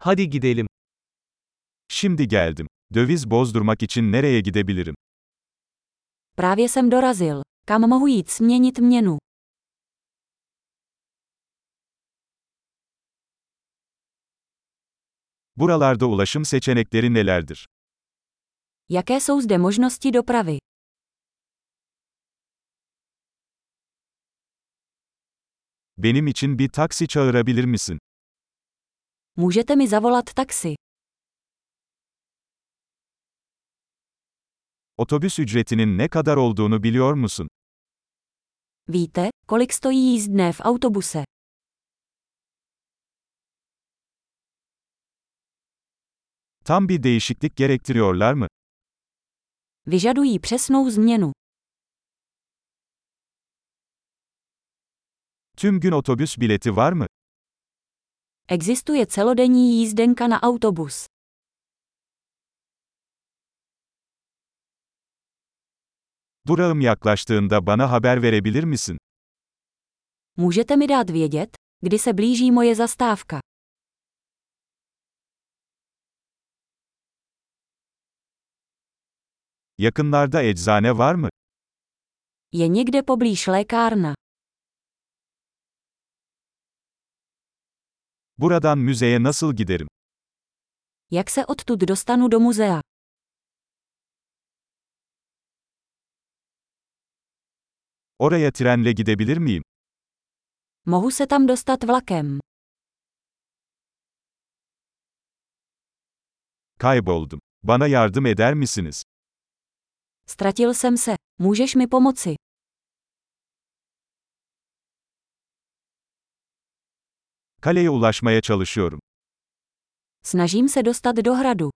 Hadi gidelim. Şimdi geldim. Döviz bozdurmak için nereye gidebilirim? Právě jsem dorazil. Kam mohu jít směnit měnu? Buralarda ulaşım seçenekleri nelerdir? Jaké jsou zde možnosti dopravy? Benim için bir taksi çağırabilir misin? Můžete mi zavolat taxi. Otobüs ücretinin ne kadar olduğunu biliyor musun? Víte, kolik stojí jízdné v autobuse? Tam bir değişiklik gerektiriyorlar mı? Vyžadují přesnou změnu. Tüm gün otobüs bileti var mı? Existuje celodenní jízdenka na autobus. Durağım yaklaştığında bana haber verebilir misin? Můžete mi dát vědět, kdy se blíží moje zastávka? Yakınlarda eczane var mı? Je někde poblíž lékárna. Buradan müzeye nasıl giderim? Jak se odtud dostanu do muzea? Oraya trenle gidebilir miyim? Mohu se tam dostat vlakem. Kayboldum. Bana yardım eder misiniz? Ztratil jsem se. Můžeš mi pomoci? Kaleye ulaşmaya çalışıyorum. Snažím se dostat do hradu.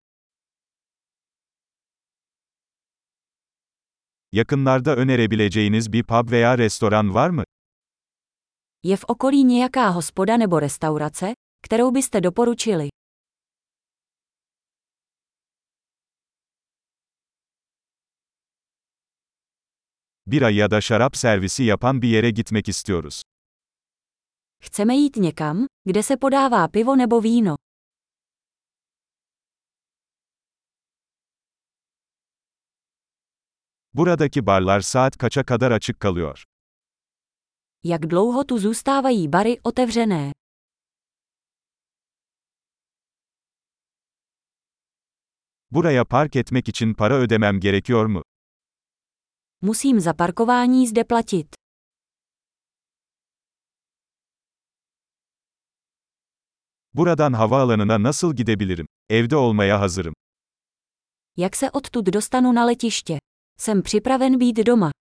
Yakınlarda önerebileceğiniz bir pub veya restoran var mı? Je v okolí nějaká hospoda nebo restaurace, kterou byste doporučili? Bira ya da şarap servisi yapan bir yere gitmek istiyoruz. Chceme jít někam, kde se podává pivo nebo víno. Buradaki barlar saat kaça kadar açık kalıyor? Jak dlouho tu zůstávají bary otevřené? Buraya park etmek için para ödemem gerekiyor mu? Musím za parkování zde platit. Buradan havaalanına nasıl gidebilirim? Evde olmaya hazırım. Jak se odtud dostanu na letiště? Jsem připraven být doma.